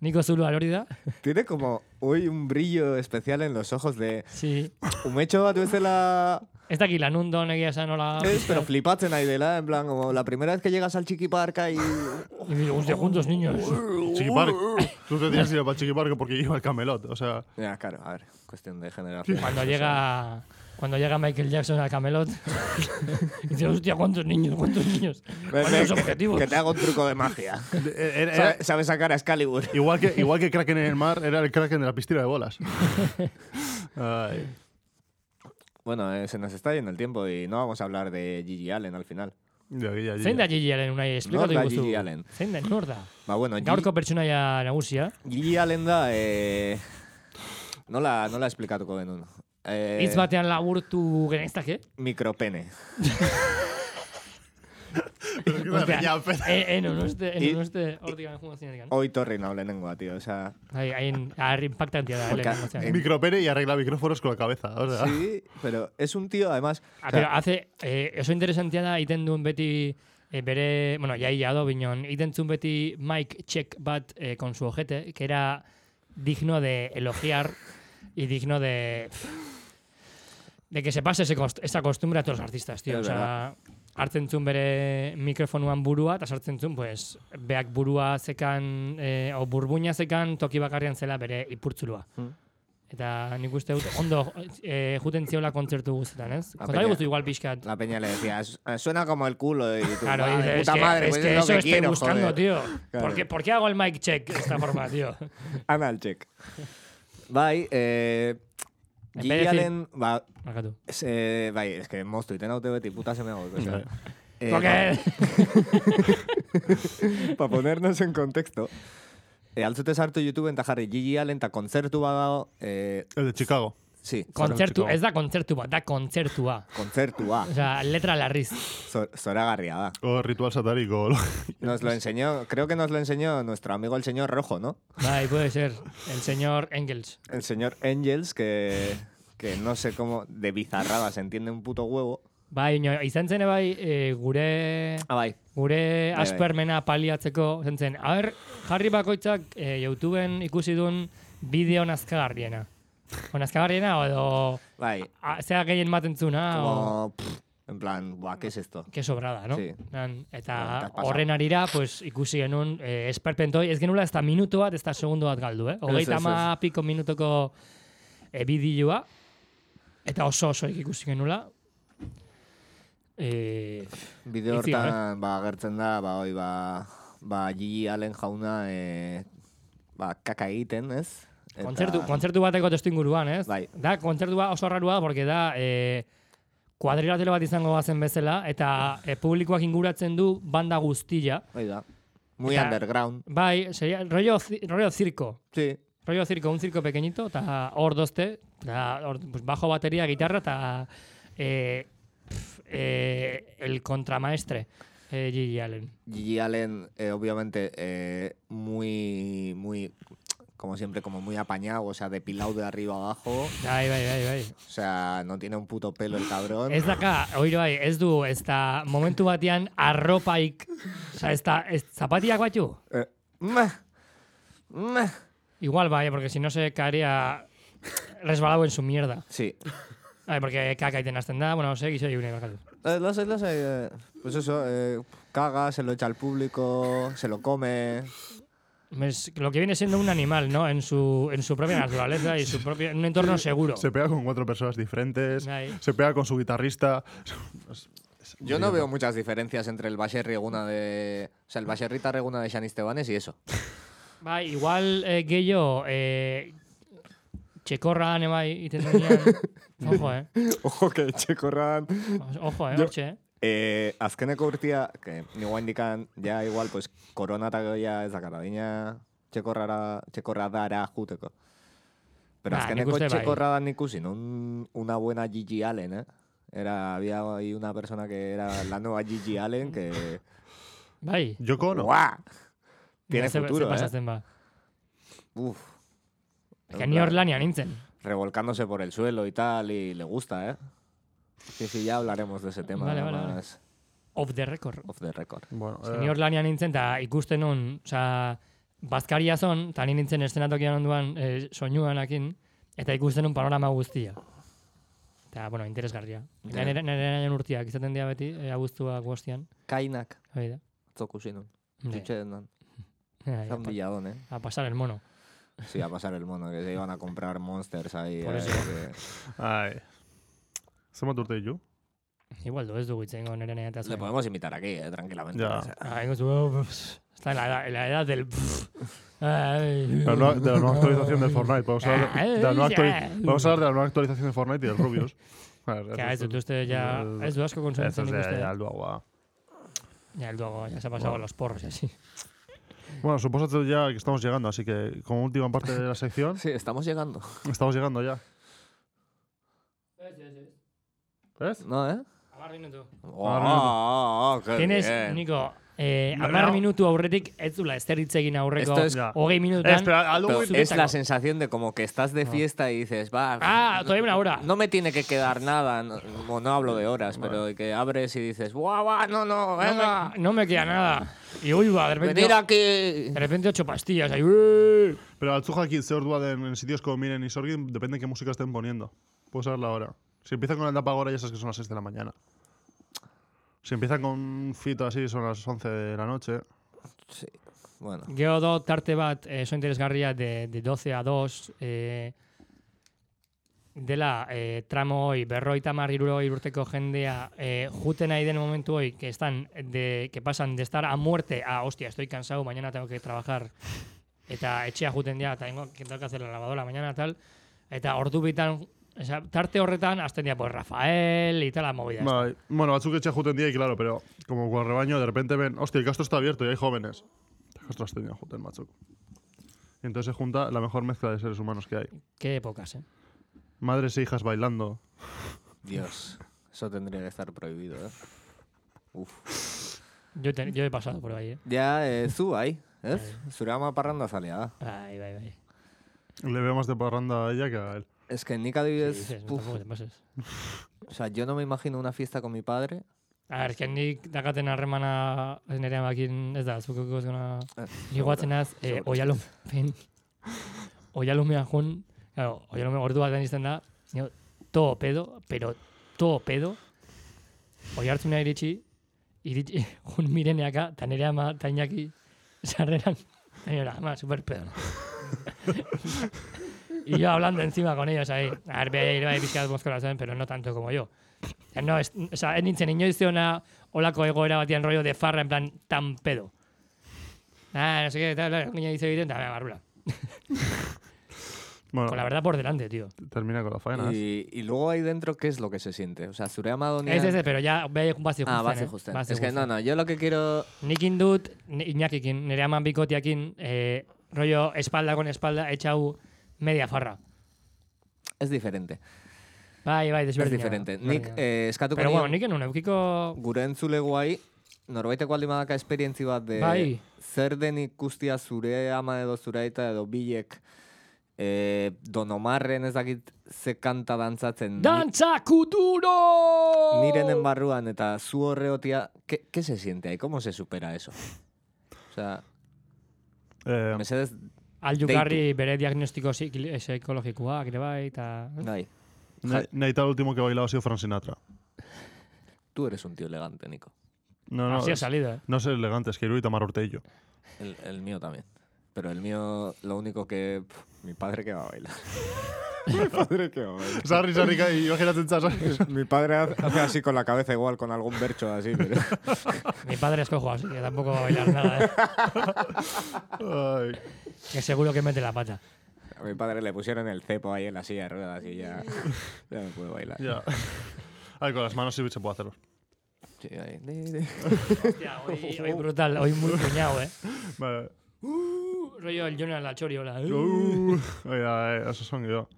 Speaker 4: Niko Zulu hori da.
Speaker 2: Tiene como hoy un brillo especial en los ojos de
Speaker 4: Sí.
Speaker 2: umetxo bat bezala
Speaker 4: Ez dakit lanun da honegia esan nola...
Speaker 2: ez, pero flipatzen ari dela, en plan, como la primera vez que llegas al chiquiparca y...
Speaker 4: Y digo, hostia, juntos, niños. Uh,
Speaker 1: Chiquipark. Tú te tienes que ir para Chiquipark porque iba al Camelot. O sea,
Speaker 2: Ya, claro, a ver, cuestión de generación.
Speaker 4: Cuando llega... Cuando llega Michael Jackson a Camelot, y dice, hostia, ¿cuántos niños? ¿Cuántos niños?
Speaker 2: Ven,
Speaker 4: ¿Cuántos
Speaker 2: ven, que,
Speaker 4: objetivos?
Speaker 2: que te hago un truco de magia.
Speaker 1: eh, era-
Speaker 2: Sabe- Sabes sacar a Excalibur.
Speaker 1: igual, que, igual que Kraken en el mar, era el Kraken de la piscina de bolas. Ay.
Speaker 2: Bueno, eh, se nos está yendo el tiempo y no vamos a hablar de Gigi Allen al final.
Speaker 1: Ya, ya, ya.
Speaker 4: Zein da Gigi Allen unai, esplikatu
Speaker 2: Nor da
Speaker 4: iguzu.
Speaker 2: Gigi Allen?
Speaker 4: Zein da, nor da?
Speaker 2: Ba, bueno, Gigi-
Speaker 4: Gaurko pertsonaia nagusia,
Speaker 2: Gigi Allen da... Eh, nola, nola esplikatuko genuen? Eh,
Speaker 4: hitz batean laburtu geneztake.
Speaker 2: Micropene.
Speaker 1: Ya,
Speaker 4: Ostia,
Speaker 1: pero- pues,
Speaker 4: eh, eh, no, no este,
Speaker 2: Y-
Speaker 4: eh, no este, hortik Bai, anjungo zinetik.
Speaker 2: Hoy torri nau lehenengoa, tío. O sea,
Speaker 4: Ahí, ahí, ahí impactantia da,
Speaker 2: Porque-
Speaker 4: Ellen. o sea.
Speaker 2: eh,
Speaker 1: Micropene y arregla micrófonos con la cabeza. O sea,
Speaker 2: sí, pero es un tío, además...
Speaker 4: Ah,
Speaker 2: o sea,
Speaker 4: pero hace, eh, oso interesantia da, iten duen beti, eh, bere, bueno, jai jado binon, iten zuen beti Mike Check bat eh, con su ojete, que era digno de elogiar y digno de... De que se pase ese cost- esa costumbre a todos los artistas, tío.
Speaker 2: Es
Speaker 4: O sea, hartzen zuen bere mikrofonuan burua, eta sartzen zuen, pues, beak burua zekan, eh, o burbuina zekan toki bakarrean zela bere ipurtzulua.
Speaker 2: Hmm.
Speaker 4: Eta nik uste dut, ondo eh, juten ziola kontzertu guztetan, ez?
Speaker 2: Apena.
Speaker 4: Kontari guztu igual pixkat.
Speaker 2: La peña le decía, "Su- eh, suena como el culo y tú,
Speaker 4: Claro,
Speaker 2: "Madre,
Speaker 4: y dices, es
Speaker 2: Bai, puta
Speaker 4: que,
Speaker 2: madre,
Speaker 4: es
Speaker 2: pues
Speaker 4: que
Speaker 2: es
Speaker 4: eso
Speaker 2: lo que
Speaker 4: estoy
Speaker 2: quiero,
Speaker 4: buscando,
Speaker 2: joder".
Speaker 4: tío.
Speaker 2: Claro.
Speaker 4: ¿Por, qué, por qué hago el mic check de esta forma, tío?
Speaker 2: Anal check. Bai, eh,
Speaker 4: En
Speaker 2: Gigi
Speaker 4: vez de decir-
Speaker 2: Allen, ba,
Speaker 4: Markatu.
Speaker 2: ze, bai, eske moztu iten haute beti puta seme hau.
Speaker 1: Bai.
Speaker 2: Eh,
Speaker 4: Porque...
Speaker 2: Para ponernos en contexto, eh, altzute sartu YouTube eta jarri Gigi Allen eta kontzertu badago, eh,
Speaker 1: el de Chicago.
Speaker 2: sí,
Speaker 4: kontzertu,
Speaker 1: Chicago.
Speaker 4: ez da kontzertu bat, da kontzertua.
Speaker 2: kontzertua,
Speaker 4: O sea, letra larriz.
Speaker 2: zor, zoragarria da.
Speaker 1: O ritual satánico. o lo-
Speaker 2: Nos lo enseñó, creo que nos lo enseñó nuestro amigo el señor Rojo, ¿no?
Speaker 4: Bai, puede ser. El señor Engels.
Speaker 2: El señor Angels, que, que no sé cómo, de bizarrada, se entiende un puto huevo.
Speaker 4: Bai, ino, izan zen bai, eh, gure...
Speaker 2: Ah, bai.
Speaker 4: Gure
Speaker 2: Bai, bai.
Speaker 4: aspermena paliatzeko, zentzen, haber, jarri bakoitzak e, YouTubeen ikusi duen bideo nazkagarriena. O nazkagarriena, o edo,
Speaker 2: Bai.
Speaker 4: a- zea gehien maten zuna, o...
Speaker 2: Como, pff, en plan, buah, ¿qué es esto?
Speaker 4: Que sobrada, no?
Speaker 2: Sí.
Speaker 4: Nan,
Speaker 2: Bueno,
Speaker 4: eta
Speaker 2: eta pasa.
Speaker 4: horren arira, pues, ikusi genuen eh, esperpentoi, ez genula ez da minutu bat, ez da segundu bat galdu, eh? Hogeita
Speaker 2: ez, ez.
Speaker 4: ma piko minutuko eh, bideoa, eta oso oso ikusi genula. Eh,
Speaker 2: Bideo
Speaker 4: Itzi,
Speaker 2: hortan, ba, agertzen da, ba, hoi, ba, ba, Gigi Allen jauna, eh, ba, kaka egiten, ez? Eta-
Speaker 4: Kontzertu, kontzertu bateko testu inguruan, ez?
Speaker 2: Bai.
Speaker 4: Da, kontzertua oso rarua, porque da, e, kuadrilatelo bat izango bazen bezala, eta e, publikoak inguratzen du banda guztia.
Speaker 2: Hoi da. Muy
Speaker 4: Eta-
Speaker 2: underground.
Speaker 4: Bai, seria, rollo, zi- rollo circo.
Speaker 2: Sí.
Speaker 4: Rollo circo, un circo pequeñito, eta hor dozte, eta hor, pues, bajo bateria, guitarra, eta e, pf, e, el contramaestre, e, Gigi Allen.
Speaker 2: Gigi Allen, eh, obviamente, eh, muy, muy, como siempre, como muy apañado, o sea, depilado de arriba abajo.
Speaker 4: Bai, bai, bai, bai.
Speaker 2: O sea, no tiene un puto pelo el cabrón.
Speaker 4: Ez daka, oiro bai, ez du, ez da momentu batean arropaik, oza, ez da, ez, zapatiak batu?
Speaker 2: Eh, meh, meh.
Speaker 4: Igual vaya, porque si no se caería resbalado en su mierda.
Speaker 2: Sí.
Speaker 4: Ay, porque caca y tenazten da, bueno, no sé, gizo y une, barkatu.
Speaker 2: Eh, lo sé, lo sé. eh, Pues eso, eh, caga, se lo echa al público, se lo come.
Speaker 4: Es Lo que viene siendo un animal, ¿no? En su, en su propia naturaleza y su propio, en un entorno seguro.
Speaker 1: Se pega con cuatro personas diferentes.
Speaker 4: Ahí.
Speaker 1: Se pega con su guitarrista.
Speaker 2: Yo no veo muchas diferencias entre el Baserri Eguna de. O sea, el Baserri Tarreguna de Xan Estebanes y eso.
Speaker 4: Bai, igual eh, gehiago, eh, txekorra ane bai, iten duenean. Ojo, eh.
Speaker 2: Ojo, que Checorran.
Speaker 4: Ojo, eh,
Speaker 2: Yo-
Speaker 4: hortxe, eh.
Speaker 2: Eh, azkeneko urtia, que nigo indican ya igual, pues, korona eta goia ez dakara, dina txekorrara, txekorradara juteko. Pero
Speaker 4: Ba, nik
Speaker 2: azkeneko
Speaker 4: uste bai.
Speaker 2: txekorradan ikusi, no un, una buena Gigi Allen, eh? Era, había ahí una persona que era la nueva Gigi Allen que...
Speaker 4: Bai.
Speaker 1: Yo cono.
Speaker 2: ¡Guau! Tiene
Speaker 4: Mira, este ze- ze
Speaker 2: futuro, eh?
Speaker 4: pasatzen ba.
Speaker 2: Uf,
Speaker 4: Es que ni Orlania nintzen.
Speaker 2: revolcándose por el suelo y tal, y le gusta, eh? Sí, sí, ya hablaremos de ese tema
Speaker 4: Vale, vale, vale.
Speaker 2: más
Speaker 4: Off the record.
Speaker 2: off the record.
Speaker 1: Bueno, eh,
Speaker 4: Senior lanean nintzen, eta ikusten nun, oza, bazkaria zon, eta ni nintzen estenatokian onduan e, soinuanakin, eta ikusten un panorama guztia. Eta, bueno, interesgarria.
Speaker 2: Ja.
Speaker 4: Yeah. Nire nahian urtiak izaten dira beti, e, abuztuak bostian.
Speaker 2: Kainak,
Speaker 4: Hori da.
Speaker 2: tzoku sinun.
Speaker 4: Ne.
Speaker 2: Dutxe denan.
Speaker 4: Ai, a
Speaker 2: Zan
Speaker 4: pa-
Speaker 2: billadón, eh.
Speaker 4: A pasar el mono.
Speaker 2: Sí, a pasar el mono, que se iban a comprar monsters ahí.
Speaker 4: Por
Speaker 2: eh,
Speaker 4: eso.
Speaker 2: que-
Speaker 1: Ai. Zenbat urte ditu?
Speaker 4: Igual du ez dugu itzengo nire nire eta
Speaker 2: Le podemos invitar aquí, eh, tranquilamente.
Speaker 1: Ya.
Speaker 2: o sea.
Speaker 4: Ah, ingo zu, oh, pff, está en la edad, en la edad del... Ay.
Speaker 1: De la nueva, de la nueva actualización del Fortnite. Vamos a, hablar de la nueva
Speaker 4: Ay,
Speaker 1: actuali-
Speaker 4: ay.
Speaker 1: vamos a hablar de la nueva actualización de Fortnite y del Rubius. A ver,
Speaker 4: Ja, ez dut uste, ja,
Speaker 1: Ez-
Speaker 4: ez du asko
Speaker 1: Eso
Speaker 4: konsumitzen
Speaker 1: es de
Speaker 4: ikuste.
Speaker 1: Alduagua.
Speaker 4: Ja, helduago, ja se ha pasado los porros, y así.
Speaker 1: Bueno, supuesto ya que estamos llegando, así que como última parte de la sección,
Speaker 2: Sí, estamos llegando.
Speaker 1: estamos llegando ya. ¿Ves?
Speaker 2: ¿No, eh?
Speaker 4: Amar minutu.
Speaker 2: Oh,
Speaker 1: Ahora
Speaker 2: oh, oh, qué
Speaker 4: Tienes,
Speaker 2: bien.
Speaker 4: Niko, eh,
Speaker 1: No,
Speaker 4: amar
Speaker 1: no.
Speaker 4: minutu aurretik ez zula esteritze egin aurreko
Speaker 2: Esto es-
Speaker 1: Ya.
Speaker 4: hogei
Speaker 1: Eh,
Speaker 4: minututan.
Speaker 1: espera,
Speaker 2: Pero
Speaker 1: Halloween.
Speaker 4: Pero-
Speaker 2: es la
Speaker 4: Subétalo.
Speaker 2: sensación de como que estás de fiesta y dices, va.
Speaker 4: Ah,
Speaker 2: no-
Speaker 4: todavía una hora.
Speaker 2: No me tiene que quedar nada. No, no- no hablo de horas, pero que abres y dices, guau, guau, no, no,
Speaker 4: no,
Speaker 2: venga.
Speaker 4: me, no me queda nada. Y uy, va, de repente,
Speaker 2: venir aquí.
Speaker 4: de repente ocho pastillas. Ahí, ué.
Speaker 1: Pero Altzuja aquí se ordua en, en sitios como Miren y Sorgin, depende de qué música estén poniendo. Puedes saber la hora. Si empiezan con el Dapa ahora, ya sabes que son las 6 de la mañana. Si empiezan con Fito así, son las 11 de la noche.
Speaker 2: Sí, Bueno,
Speaker 4: Geo do tarte bat eh, oso interesgarria de, de 12 a 2 eh, dela eh, tramo hoi berroita marriruro urteko jendea eh, juten nahi den momentu hoi que, están de, que pasan de estar a muerte a hostia, estoy cansado, mañana tengo que trabajar eta etxea juten dira, eta tengo que tengo que hacer la lavadora mañana tal eta ordu bitan esa, tarte horretan hasten dira pues Rafael y tal la movida esta.
Speaker 1: Bai. Bueno, Altzuja echa Juten día y claro, pero como con el rebaño, de repente ven, hostia, el castro está abierto y hay jóvenes. El castro has tenido Juten, macho. Y entonces se junta la mejor mezcla de seres humanos que hay.
Speaker 4: qué épocas eh
Speaker 1: Madres e hijas bailando.
Speaker 2: Dios. Eso tendría que estar prohibido, ¿eh? Uf.
Speaker 4: yo, te- yo he pasado por ahí eh.
Speaker 2: Ya, eh, zu ahí, ¿eh? Surama parranda zalea.
Speaker 4: Bai, bai, bai.
Speaker 1: Le veo más de parranda a ella que a él.
Speaker 2: Es que Nika adibidez,
Speaker 4: Sí, dices, no,
Speaker 2: puf,
Speaker 4: tampoco te pases.
Speaker 2: o sea, yo no me imagino una fiesta con mi padre.
Speaker 4: A ber, que nik dakaten harremana nire amakin, ez da, zuko zona...
Speaker 2: Eh,
Speaker 4: Ni guatzen az, eh,
Speaker 2: seguro.
Speaker 4: oialumen... Oialumea jun... Claro, oialume ordu batean izten da, nio, todo pedo, pero todo pedo. Oiartzuna iritsi, iritsi, jun mireneaka, eta nire ama, eta inaki, sarreran, nire ama, super pedo. y yo hablando encima con ellos ahí. A ver, bera ere bai pixkat mozkora zen, pero no tanto como yo. O sea, no, es, o sea, ez nintzen inoiz ona olako egoera batean rollo de farra en plan tan pedo. Ah, no sé qué, tal, coña dice bien, dame barbula.
Speaker 1: Bueno,
Speaker 4: Con Pues la verdad por delante, tío.
Speaker 1: termina con la faena. ¿eh?
Speaker 2: Y, y luego ahí dentro, ¿qué es lo que se siente? O sea, Surama Donia.
Speaker 4: Ez, ez, ez, pero ya bai bazi justen.
Speaker 2: Ah, base
Speaker 4: eh?
Speaker 2: justo.
Speaker 4: Bazi
Speaker 2: Es que no,
Speaker 4: justen.
Speaker 2: no, yo lo que quiero.
Speaker 4: Nikin dut, ni- Iñakikin, nire aman bikotiakin, eh, rollo espalda con espalda, etxau media farra.
Speaker 2: Es diferente.
Speaker 4: Bai, bai,
Speaker 2: Es
Speaker 4: desberdina.
Speaker 2: diferente.
Speaker 4: Desberdina.
Speaker 2: Nik eh, eskatuko
Speaker 4: Pero bueno,
Speaker 2: nion,
Speaker 4: nik enun eukiko...
Speaker 2: gure entzulegu guai, norbaitek aldi badaka esperientzi bat de
Speaker 4: Bai.
Speaker 2: zer den ikustia zure ama edo zure aita edo bilek eh, donomarren ez dakit ze kanta dantzatzen ni-
Speaker 4: Dantza kuturo!
Speaker 2: nirenen barruan eta zu horreotia, ¿qué, qué se siente ahí? ¿Cómo se supera eso? O sea,
Speaker 1: Eh,
Speaker 2: mesedez,
Speaker 4: Aldukarri bere diagnostiko psikil- psikologikoak ere bai, eta...
Speaker 2: bai,
Speaker 1: Ne- Neita, el último que ha bailado ha sido Frank Sinatra.
Speaker 2: tú eres un tío elegante, Nico.
Speaker 1: No, no.
Speaker 4: Así ha
Speaker 1: es-
Speaker 4: salido, eh.
Speaker 1: No es elegante, es que Iru y Tamar Ortello.
Speaker 2: El, el mío también. Pero el mío, lo único que... pf, mi padre que va a bailar. mi padre que va a bailar.
Speaker 1: Sarri, sarri, y imagínate en Sarri.
Speaker 2: Pues Mi padre hace así con la cabeza igual, con algún bercho así. Pero...
Speaker 4: Mi padre es cojo, así que tampoco va a bailar nada, eh.
Speaker 1: Ay.
Speaker 4: Que seguro que mete la pata.
Speaker 2: A mi padre le pusieron el cepo ahí en la silla de ruedas y ya, ya no puedo bailar.
Speaker 1: Ya. Ay, con las manos sí se puede hacerlo.
Speaker 2: Sí, ahí, de- de-
Speaker 4: Hostia, hoy, hoy brutal, hoy muy cuñado, eh.
Speaker 1: Vale.
Speaker 4: Uh, rollo el Jonas Lachori, hola. Uh.
Speaker 1: Uh, oiga, eh, oso son yo.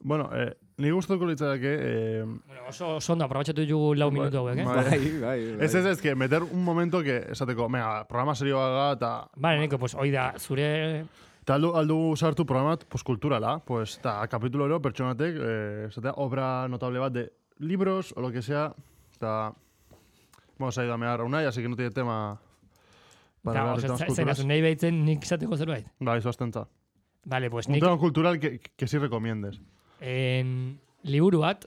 Speaker 1: Bueno, eh, ni gustuko litzateke... Eh,
Speaker 4: Bueno, oso oso ondo, aprobetxatu ditugu lau minutu hauek, eh.
Speaker 1: ba-
Speaker 2: Bai, bai, bai.
Speaker 1: ez, ez, ez, que meter un momento que esateko, mega, programa serioa da, eta
Speaker 4: Vale, Nico, pues hoi da, zure...
Speaker 1: Eta aldu, aldu sartu programat, pues, kulturala, pues, eta kapitulero pertsonatek, eh, esatea, obra notable bat de libros, o lo que sea, eta, vamos a ir a mear a Unai, así que no tiene tema Para
Speaker 4: Eta,
Speaker 1: behar
Speaker 4: oso,
Speaker 1: ditudan
Speaker 4: za-
Speaker 1: kulturaz.
Speaker 4: zaidazu nahi baitzen nik izateko zerbait.
Speaker 1: Bai, zoztentza.
Speaker 4: Vale, pues
Speaker 1: Un
Speaker 4: nik
Speaker 1: tema cultural que, que sí recomiendes.
Speaker 4: en, liburu bat,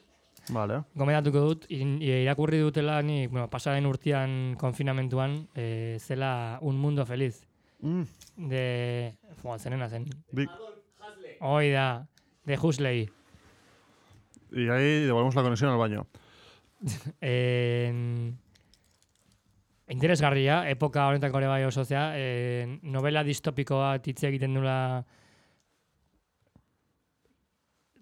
Speaker 1: Vale.
Speaker 4: gomendatuko dut, in- irakurri dutela nik, bueno, pasaren urtean konfinamentuan, eh, zela Un Mundo Feliz.
Speaker 1: Mm,
Speaker 4: De... Fua, zenena zen.
Speaker 1: di-
Speaker 4: Hoi da, de Huxley.
Speaker 1: y ahí devolvemos la conexión al baño.
Speaker 4: En... Interesgarria, epoka honetako ere bai oso zea, en, novela distopiko bat hitz egiten dula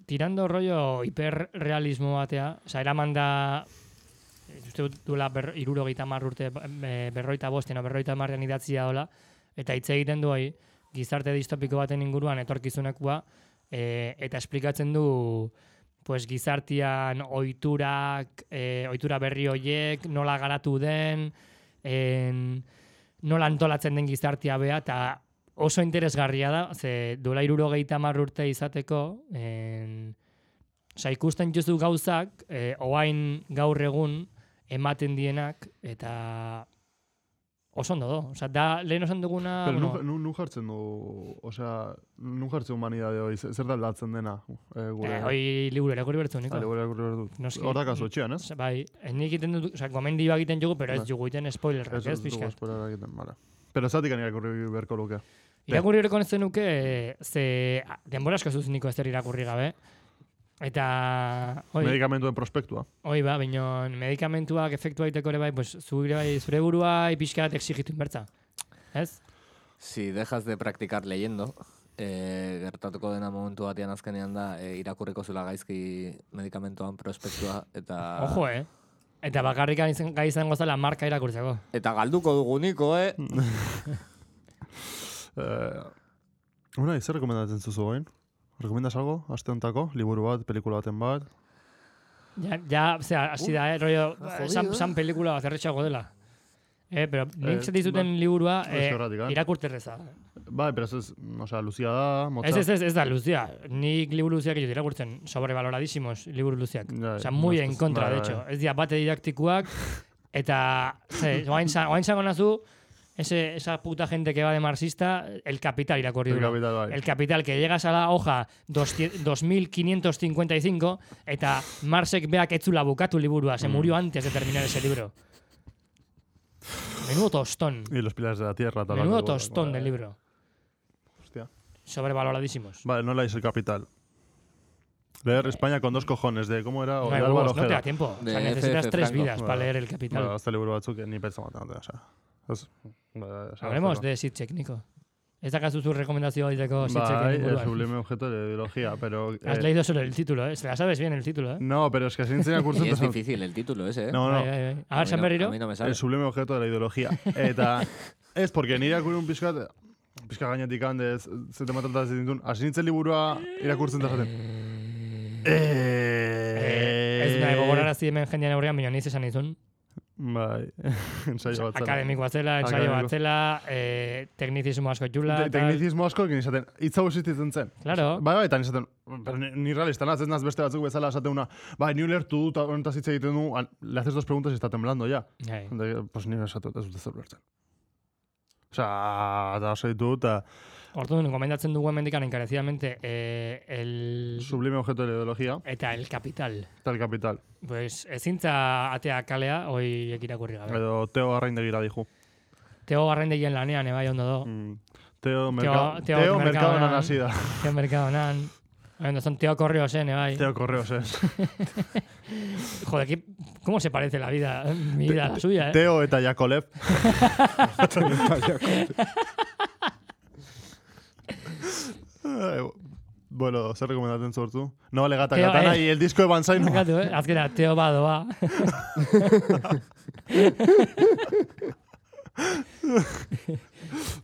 Speaker 4: tirando rollo hiperrealismo batea, oza, eraman da eh, uste dut duela ber, irurogeita mar urte, eh, berroita bosten, o berroita marrean idatzia dola, eta hitz egiten du hai, gizarte distopiko baten inguruan etorkizunekua, eh, eta esplikatzen du pues, gizartian oiturak, eh, oitura berri hoiek, nola garatu den, en, nola antolatzen den gizartia bea, eta oso interesgarria da, ze duela irurogeita mar urte izateko, en, Osa, ikusten justu gauzak, eh, oain gaur egun, ematen dienak, eta oso ondo do. Osa, da, lehen osan duguna...
Speaker 1: Pero
Speaker 4: bueno,
Speaker 1: nun, nun, nun jartzen du, osea, nun jartzen humanidade hori, ze- zer da aldatzen dena? Eh, gure,
Speaker 4: eh, hoi liburu irakurri bertu, niko.
Speaker 1: Ale, gure, gure, gure,
Speaker 4: Noski.
Speaker 1: Hor dakazu etxean, ez?
Speaker 4: Osa, bai, eh, nik egiten dut, osa, gomendio egiten dugu, pero ez
Speaker 1: Bai.
Speaker 4: dugu egiten spoilerrak,
Speaker 1: Ez
Speaker 4: ez,
Speaker 1: ez dugu
Speaker 4: pixkat.
Speaker 1: espera egiten, vale. Pero zatik anik irakurri beharko luke.
Speaker 4: Irakurri horreko netzen nuke, eh, ze a, denbora asko zuz niko ezer irakurri gabe. Eta, hoi,
Speaker 1: Medikamentuen prospektua.
Speaker 4: hoi ba, baino, medikamentuak efektua egiteko ere bai, pues, zure, bai, zure burua pixkat exigitu inbertza. Ez?
Speaker 2: Si dejas de practicar leyendo, eh, gertatuko dena momentu batean azkenean da eh, irakurriko zula gaizki medikamentuan prospektua eta
Speaker 1: Ah.
Speaker 4: Ojo, eh? Eta bakarrik gai izan- gai izango zela marka irakurtzeko.
Speaker 2: eta galduko dugu niko, eh?
Speaker 1: Eh, Unai, zer rekomendatzen zuzu orain? Rekomendas algo? Aste hontako? Liburu bat, pelikula baten bat?
Speaker 4: Ja, ja, zera, hasi da, eh, rollo, san, san pelikula bat erretxago dela. Eh, pero nik
Speaker 1: Eh,
Speaker 4: zati zuten liburua
Speaker 1: Ez
Speaker 4: eh,
Speaker 1: horregatik, eh?
Speaker 4: irakurterreza.
Speaker 1: Bai, pero ez ez, osea, luzia da, motza.
Speaker 4: Ez, ez, ez, ez da, luzia. Nik liburu luziak ditut irakurtzen, sobrevaloradísimos liburu luziak.
Speaker 1: Ja,
Speaker 4: Osa, muy
Speaker 1: ez-
Speaker 4: en kontra,
Speaker 1: bai,
Speaker 4: de
Speaker 1: bai.
Speaker 4: hecho. Ez dira, bate didaktikuak, eta, ze, oain, sa- oain zango nazu, ese, esa puta gente que va de marxista, el capital irakurri
Speaker 1: El
Speaker 4: dula.
Speaker 1: capital, bai.
Speaker 4: El capital, que llegas a la hoja 200 2555, eta Marxek beak etzula bukatu liburua,
Speaker 1: Mm.
Speaker 4: se murió antes de terminar ese libro. Menudo tostón.
Speaker 1: Y los pilares de la tierra. tal,
Speaker 4: Menudo
Speaker 1: algo,
Speaker 4: tostón
Speaker 1: vale.
Speaker 4: del libro.
Speaker 1: Hostia.
Speaker 4: Sobrevaloradísimos.
Speaker 1: Vale, no leáis el capital. Leer España con dos cojones de cómo era o
Speaker 4: No,
Speaker 1: de
Speaker 4: hay
Speaker 1: Álvaro
Speaker 4: huevos, Bai, no te da
Speaker 1: Ojeda.
Speaker 4: tiempo. O sea,
Speaker 2: De
Speaker 4: necesitas
Speaker 2: FF
Speaker 4: tres
Speaker 2: Franco.
Speaker 4: vidas para
Speaker 1: Vale.
Speaker 4: leer el capital.
Speaker 1: Bueno, hasta liburu batzuk ni pentsatzen dut, osea. Ez- ba, esan
Speaker 4: Hablemos
Speaker 1: bezala.
Speaker 4: de Sitchek, Nico. Ez dakazu zu rekomendazioa egiteko
Speaker 1: Bai,
Speaker 4: Sitcheken
Speaker 1: el
Speaker 4: inguruan.
Speaker 1: sublime objeto de la ideología, pero...
Speaker 4: Has
Speaker 1: eh,
Speaker 4: leído solo el título, ¿eh? Se la sabes bien el título, ¿eh?
Speaker 1: No, pero es que sin enseña curso...
Speaker 2: Y es difícil el título ese, eh?
Speaker 1: No, Ah, no,
Speaker 4: Bai, bai, bai. A
Speaker 2: A
Speaker 4: ver,
Speaker 2: mí
Speaker 4: San
Speaker 2: no-
Speaker 4: Berriro.
Speaker 2: A mí no me sale.
Speaker 1: el sublime objeto de la ideología. Eta, ez, porque nire irakurun pixkat, pixka gainetik handez, ze tema tratatzen ditun, hasi nintzen liburua irakurtzen da zaten.
Speaker 4: Eh, ez nahi gogorarazi hemen jendean aurrean, baina niz esan izun.
Speaker 1: Bai, ensaio bat zara.
Speaker 4: Akademiko batzela, ensaio
Speaker 1: Akademiko.
Speaker 4: batzela, eh, teknizismo asko jula.
Speaker 1: Te- Teknizismo asko egin izaten, hitz hau existitzen zen.
Speaker 4: Claro.
Speaker 1: Bai, bai, eta izaten, pero ni, ni realista naz, ez naz beste batzuk bezala esate una, bai, ni ulertu dut, honetaz hitz egiten du, an- le haces dos preguntas y está temblando ya.
Speaker 4: Bai.
Speaker 1: De, pues ni esate dut, ez dut zer ulertzen. Osa, eta oso eh, ditu, eta
Speaker 4: Orduan, gomendatzen dugu hemendikan encarecidamente eh, el...
Speaker 1: sublime objeto de la ideología,
Speaker 4: Eta el capital.
Speaker 1: eta el capital.
Speaker 4: Pues ezintza atea kalea, hoi ekirakurri gabe.
Speaker 1: Edo Teo Arraindegira dijo.
Speaker 4: Teo garrendegien lanean, ebai ondo do.
Speaker 1: Mm. Teo, merca,
Speaker 4: Teo
Speaker 1: teo, teo Mercado
Speaker 4: Mercadonan.
Speaker 1: hasi da.
Speaker 4: Teo merkadonan. Ondo zan teo eh, korreo zen, ebai.
Speaker 1: Teo Correos eh. es.
Speaker 4: Joder, que, ¿cómo se parece la vida? Mi vida a la suya, ¿eh?
Speaker 1: Teo eta Jakolev. Eh, bueno, zer rekomendatzen sortu? No vale gata
Speaker 4: Teo,
Speaker 1: katana
Speaker 4: eh.
Speaker 1: y el disco de Banzai no.
Speaker 4: Markatu, eh? Azkena, teo badoa.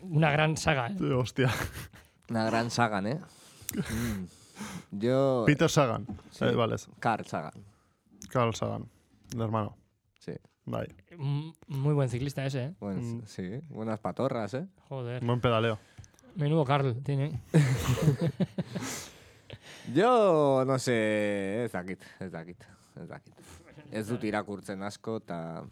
Speaker 4: Una gran saga, ¿eh?
Speaker 1: Hostia.
Speaker 2: Una gran Sagan, ¿eh? Mm. Yo...
Speaker 1: Peter Sagan.
Speaker 2: Sí.
Speaker 1: Eh, vale,
Speaker 2: Carl Sagan,
Speaker 1: Carl Sagan. El hermano.
Speaker 2: sí.
Speaker 1: Bai.
Speaker 4: M- Muy buen ciclista ese, ¿eh?
Speaker 2: Buen-
Speaker 1: Mm.
Speaker 2: Sí, buenas patorras, ¿eh?
Speaker 4: Joder.
Speaker 1: Buen pedaleo.
Speaker 4: Menudo Carl tiene.
Speaker 2: Yo, no sé, ez dakit, ez dakit, ez dakit. Ez dut irakurtzen asko, eta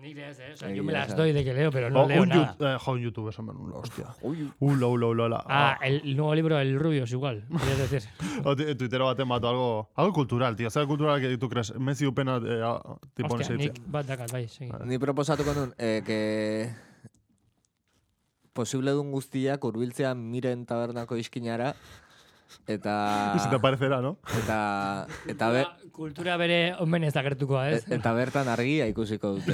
Speaker 4: Nik ere ez, eh. O sea,
Speaker 2: Egia
Speaker 4: yo me las
Speaker 2: esan.
Speaker 4: doy de que leo, pero no
Speaker 1: O
Speaker 4: leo
Speaker 1: un
Speaker 4: nada.
Speaker 1: yout- eh, jo, un youtuber son menudo, hostia.
Speaker 2: Uy,
Speaker 1: Ula, ula, ula, ula.
Speaker 4: Ah, el nuevo libro del Rubio es igual. Quería decir.
Speaker 1: O ti- Twitter baten batu algo, algo cultural, tío. Zer cultural que tú crees, mezi upena eh, ah, tipo
Speaker 4: Hostia,
Speaker 1: nese
Speaker 4: nik
Speaker 1: ditzen.
Speaker 4: bat dakar, bai, segi.
Speaker 2: Ni proposatuko nun, eh, que... Posible dun guztiak urbiltzea miren tabernako iskinara, eta...
Speaker 1: Y se te
Speaker 2: Ah.
Speaker 1: aparecerá, ¿no?
Speaker 2: Eta, eta, ber,
Speaker 4: Ba, Kultura bere omen ez dakertukoa, ez?
Speaker 2: e- eta bertan argia ikusiko dute.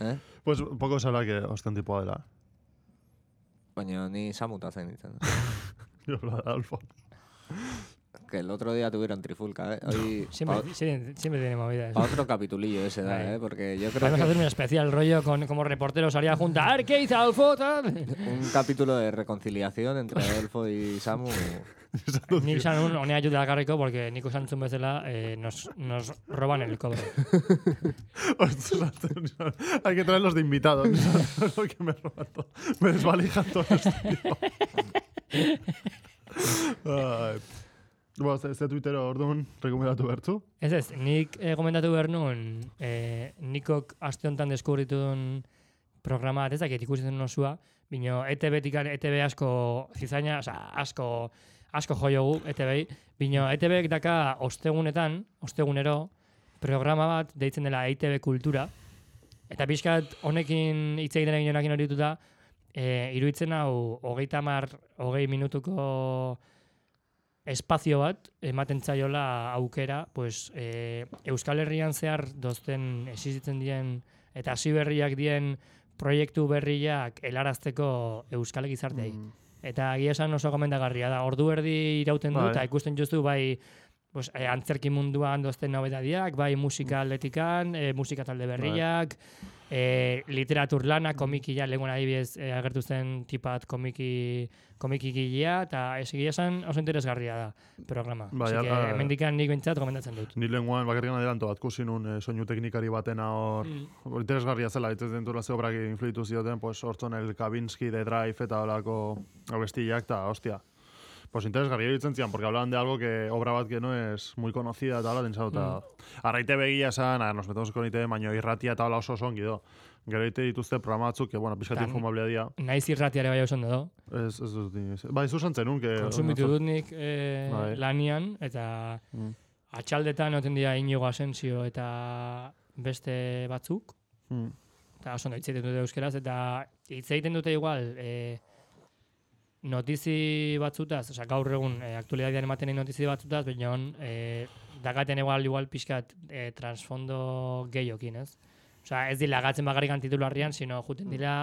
Speaker 2: Eh?
Speaker 1: Pues poco se habla que hostia tipo dela.
Speaker 2: Baina ni samuta zen nintzen.
Speaker 1: Yo lo de Alfo.
Speaker 2: Que el otro día tuvieron trifulca, eh? Hoy,
Speaker 4: Siempre,
Speaker 2: pa,
Speaker 4: siempre, siempre tiene movida eso.
Speaker 2: pa otro capitulillo ese da,
Speaker 4: Ahí.
Speaker 2: eh? Porque yo creo
Speaker 4: Podemos
Speaker 2: que
Speaker 4: hacer un especial rollo con como reporteros haría junta. A ver, ¿qué hizo Adolfo? Tal.
Speaker 2: un capítulo de reconciliación entre Adolfo y Samu...
Speaker 4: Nik izan un honea jute dakarriko, porque Niko Santzun bezala eh, nos, nos roban el cobre.
Speaker 1: Ostras, Hay que traerlos de invitados. lo que me roba todo. Me desvalijan todo esto, tío. Ay. Bueno, este, este Twitter orduan, rekomendatu bertu.
Speaker 4: Ez ez, nik eh, gomendatu behar nuen, eh, Nikok aste honetan deskubritun programa bat, ez dakit ikusi zen osua, bino ETB, tikan, ETB asko zizaina, oza, asko, asko E joiogu ETB, bino ETB E daka ostegunetan, ostegunero, programa bat deitzen dela ETB kultura, eta pixkat honekin hitz egiten egin honekin hori dituta, eh, iruditzen hau hogeita mar, hogei minutuko espazio bat ematen zaiola aukera, pues, e, Euskal Herrian zehar dozten existitzen dien eta hasi berriak dien proiektu berriak helarazteko Euskal gizarteei. Eta egia esan oso gomendagarria da. Ordu erdi irauten du
Speaker 1: Bai.
Speaker 4: eta ikusten justu bai pues, e, antzerki munduan dozten nobedadiak, bai musika
Speaker 1: Mm.
Speaker 4: atletikan, e, musika talde
Speaker 1: Bai.
Speaker 4: berriak, e, literatur lana, komikila, lenguan adibidez e, agertu zen tipat komiki, komiki gilea, eta ez egia esan oso interesgarria da programa.
Speaker 1: Bai,
Speaker 4: Así que,
Speaker 1: ala-
Speaker 4: hemendikan nik bentsat gomendatzen dut.
Speaker 1: Ni lenguan bakarrikan adelanto bat, kusin un eh, soinu teknikari batena hor, mm. interesgarria zela, ditzen zentura ze obrak influitu zioten, pues, hortzon el Kavinsky, The Drive, eta holako abestiak, eta, hostia. Pues interesgarria ditzen zian, porque hablaban de algo que obra bat que no es muy conocida, eta hola, pensau, eta... Mm. Arraite begia esan, a, nos metemos con ite, baino irratia eta hola oso ongi do. Gero ite dituzte programa batzuk, que, bueno, pixkat
Speaker 4: Tan-
Speaker 1: infumablea dia.
Speaker 4: Naiz irratiare bai oso ondo do.
Speaker 1: Ez, ez dut, ni- ba, izu zenun, que...
Speaker 4: Konsumitu dut nik eh,
Speaker 1: Bai.
Speaker 4: lanian, eta
Speaker 1: Mm.
Speaker 4: atxaldetan oten dira inigo asensio eta beste batzuk.
Speaker 1: Mm.
Speaker 4: eta oso ondo hitz egiten dute euskeraz, eta hitz egiten dute igual, e, notizi batzutaz, osea, gaur egun e, aktualidadean ematen den notizi batzutaz, baina e, dakaten igual, igual pixkat e, transfondo gehiokin, ez? Osea, ez dila gatzen bakarrik titularrian, sino
Speaker 1: Mm.
Speaker 4: juten dira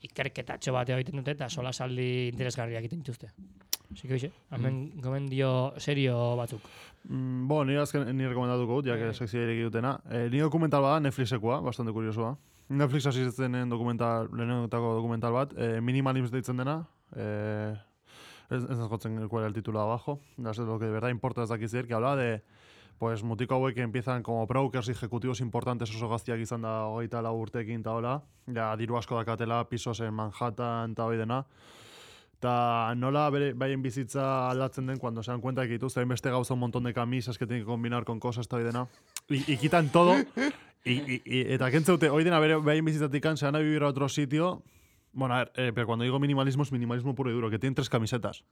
Speaker 4: ikerketatxo bat egiten dute, eta sola saldi interesgarriak egiten dituzte. Así que, oixe, hemen gomendio serio batzuk.
Speaker 1: Mm, bo, ni azken ni rekomendatuko dut, jak
Speaker 4: Bai.
Speaker 1: eh, sekzioa ireki dutena. Eh, ni dokumental bada Netflixekoa, bastante kuriosoa. Netflix hasi zitzenen dokumental, lehenetako dokumental bat, eh, Minimalism deitzen dena. Eh, ez ez jotzen cuál era el título abajo. No sé lo que de verdad importa desde aquí que hablaba de pues mutiko hauek que empiezan como brokers y ejecutivos importantes oso gaztiak izan da hogeita lau urtekin eta hola. Ja, diru asko dakatela, pisos en Manhattan eta hoi dena. Eta nola bere, baien bizitza aldatzen den cuando se dan cuenta que dituzte hainbeste gauza un montón de camisas que tienen que combinar con cosas eta hoi dena. Y, y quitan todo. y, y, y, eta kentzeute, hoi dena bere, baien bizitzatik se van a vivir a otro sitio. Bueno, a ver, eh, pero cuando digo minimalismo es minimalismo puro y duro, que tienen tres camisetas.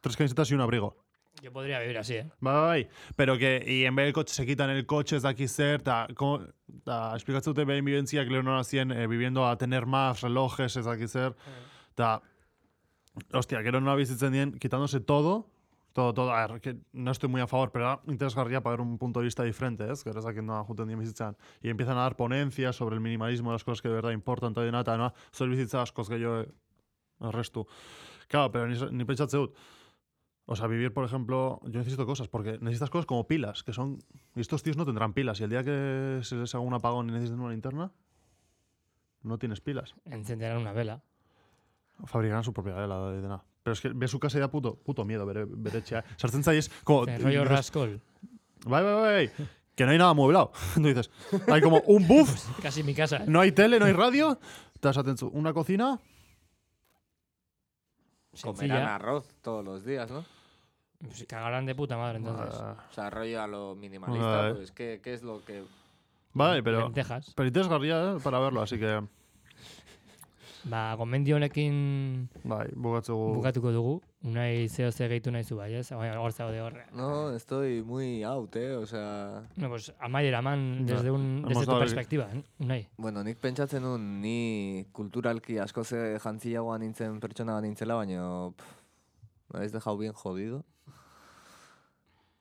Speaker 1: Tres camisetas y un abrigo.
Speaker 4: Yo podría vivir así, eh?
Speaker 1: Bai, bai, bai. Pero que, y en vez del coche se quitan el coche, ez daki zer, ta, como, ta, esplikatzu dute behin bibentziak lehenor hacían eh, viviendo a tener más relojes, ez daki zer, ta, hostia, gero nola bizitzen dien, quitándose todo, todo, todo, a ver, que no estoy muy a favor, pero da interesgarría para ver un punto de vista diferente, ez, gero ezakin nola juten dien bizitzan, y empiezan a dar ponencias sobre el minimalismo, las cosas que de verdad importan, eta dena, eta, no, zor bizitza askoz gehiago eh, arrestu. Claro, pero ni, ni pentsatze dut, O sea, vivir, por ejemplo, yo necesito cosas, porque necesitas cosas como pilas, que son... Y estos tíos no tendrán pilas, y el día que se les haga un apagón y necesiten una linterna, no tienes pilas.
Speaker 4: Encenderán una vela.
Speaker 1: Fabricarán su propia vela de nada. Pero es que ve su casa y da puto, puto miedo ver, ver etxea. Sartzen zaiz, como...
Speaker 4: Eh, rollo rascol.
Speaker 1: Bai, bai, bai, bai. Que no hay nada amueblado. Tú dices, hay como un buff,
Speaker 4: Casi mi casa, eh?
Speaker 1: no hay tele, no hay radio. Estás atento. Una cocina,
Speaker 2: Comerán
Speaker 4: Sencilla.
Speaker 2: arroz todos los días, ¿no?
Speaker 4: Pues cagarán de puta madre entonces.
Speaker 1: ah,
Speaker 2: O sea, rollo a lo minimalista.
Speaker 1: Vale.
Speaker 2: Pues, ¿qué, ¿Qué es lo que
Speaker 1: Bai, pero...
Speaker 4: Lentejas.
Speaker 1: Pero interesgarria eh, para verlo, así que...
Speaker 4: Ba, gomendio honekin
Speaker 1: Bai, bukatzegu...
Speaker 4: bukatuko dugu. Unai zeo ze gehitu nahi zu bai, ez? Bai, Hor zaude hor.
Speaker 2: No, estoy muy out, eh? Osea...
Speaker 4: No, pues, amaiera eman desde, un,
Speaker 1: hemos
Speaker 4: desde tu
Speaker 1: dado el-
Speaker 4: perspektiba, eh? Unai.
Speaker 2: Bueno, nik pentsatzen nun, ni kulturalki asko ze jantziagoa nintzen pertsona bat nintzela, baina me habéis dejado bien jodido.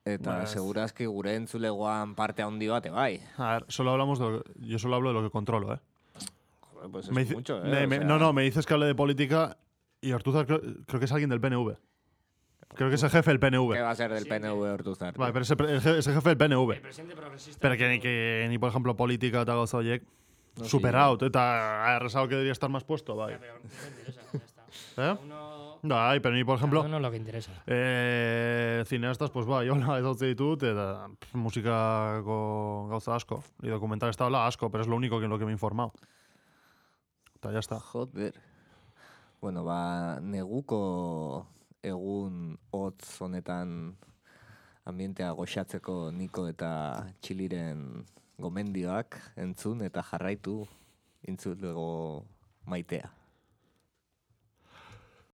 Speaker 2: Eta
Speaker 1: Ba, ez.
Speaker 2: segurazki gure entzulegoan parte handi bate, bai.
Speaker 1: A ver, solo hablamos de lo que- Yo solo hablo de lo que controlo, ¿eh?
Speaker 2: Joder, pues es
Speaker 1: Me dice-
Speaker 2: mucho, eh?
Speaker 1: me-
Speaker 2: o
Speaker 1: me-
Speaker 2: sea,
Speaker 1: no, no, me dices que hable de política y Ortuzar creo, creo que es alguien del PNV. Creo que es el jefe del PNV.
Speaker 2: ¿Qué va a ser del PNV Hortuzar?
Speaker 1: Vale, pero es el, pre- el je- es el jefe del PNV.
Speaker 4: presidente progresista.
Speaker 1: Pero que ni, que ni, por ejemplo, política eta gauza horiek super out, eta arrasado que debería estar más puesto, bai. Eh?
Speaker 4: Uno...
Speaker 1: Bai, pero ni, por ejemplo,
Speaker 4: Uno lo que interesa.
Speaker 1: eh, cineastas, pues bai, hola, ez dut ditut, eta pff, musikako gauza asko. Y documental está hola asko, pero es lo único que en lo que me he informado. Eta ya está.
Speaker 2: Joder. Bueno, ba, neguko egun hotz honetan ambientea goxatzeko Niko eta Txiliren gomendioak entzun eta jarraitu intzulego maitea.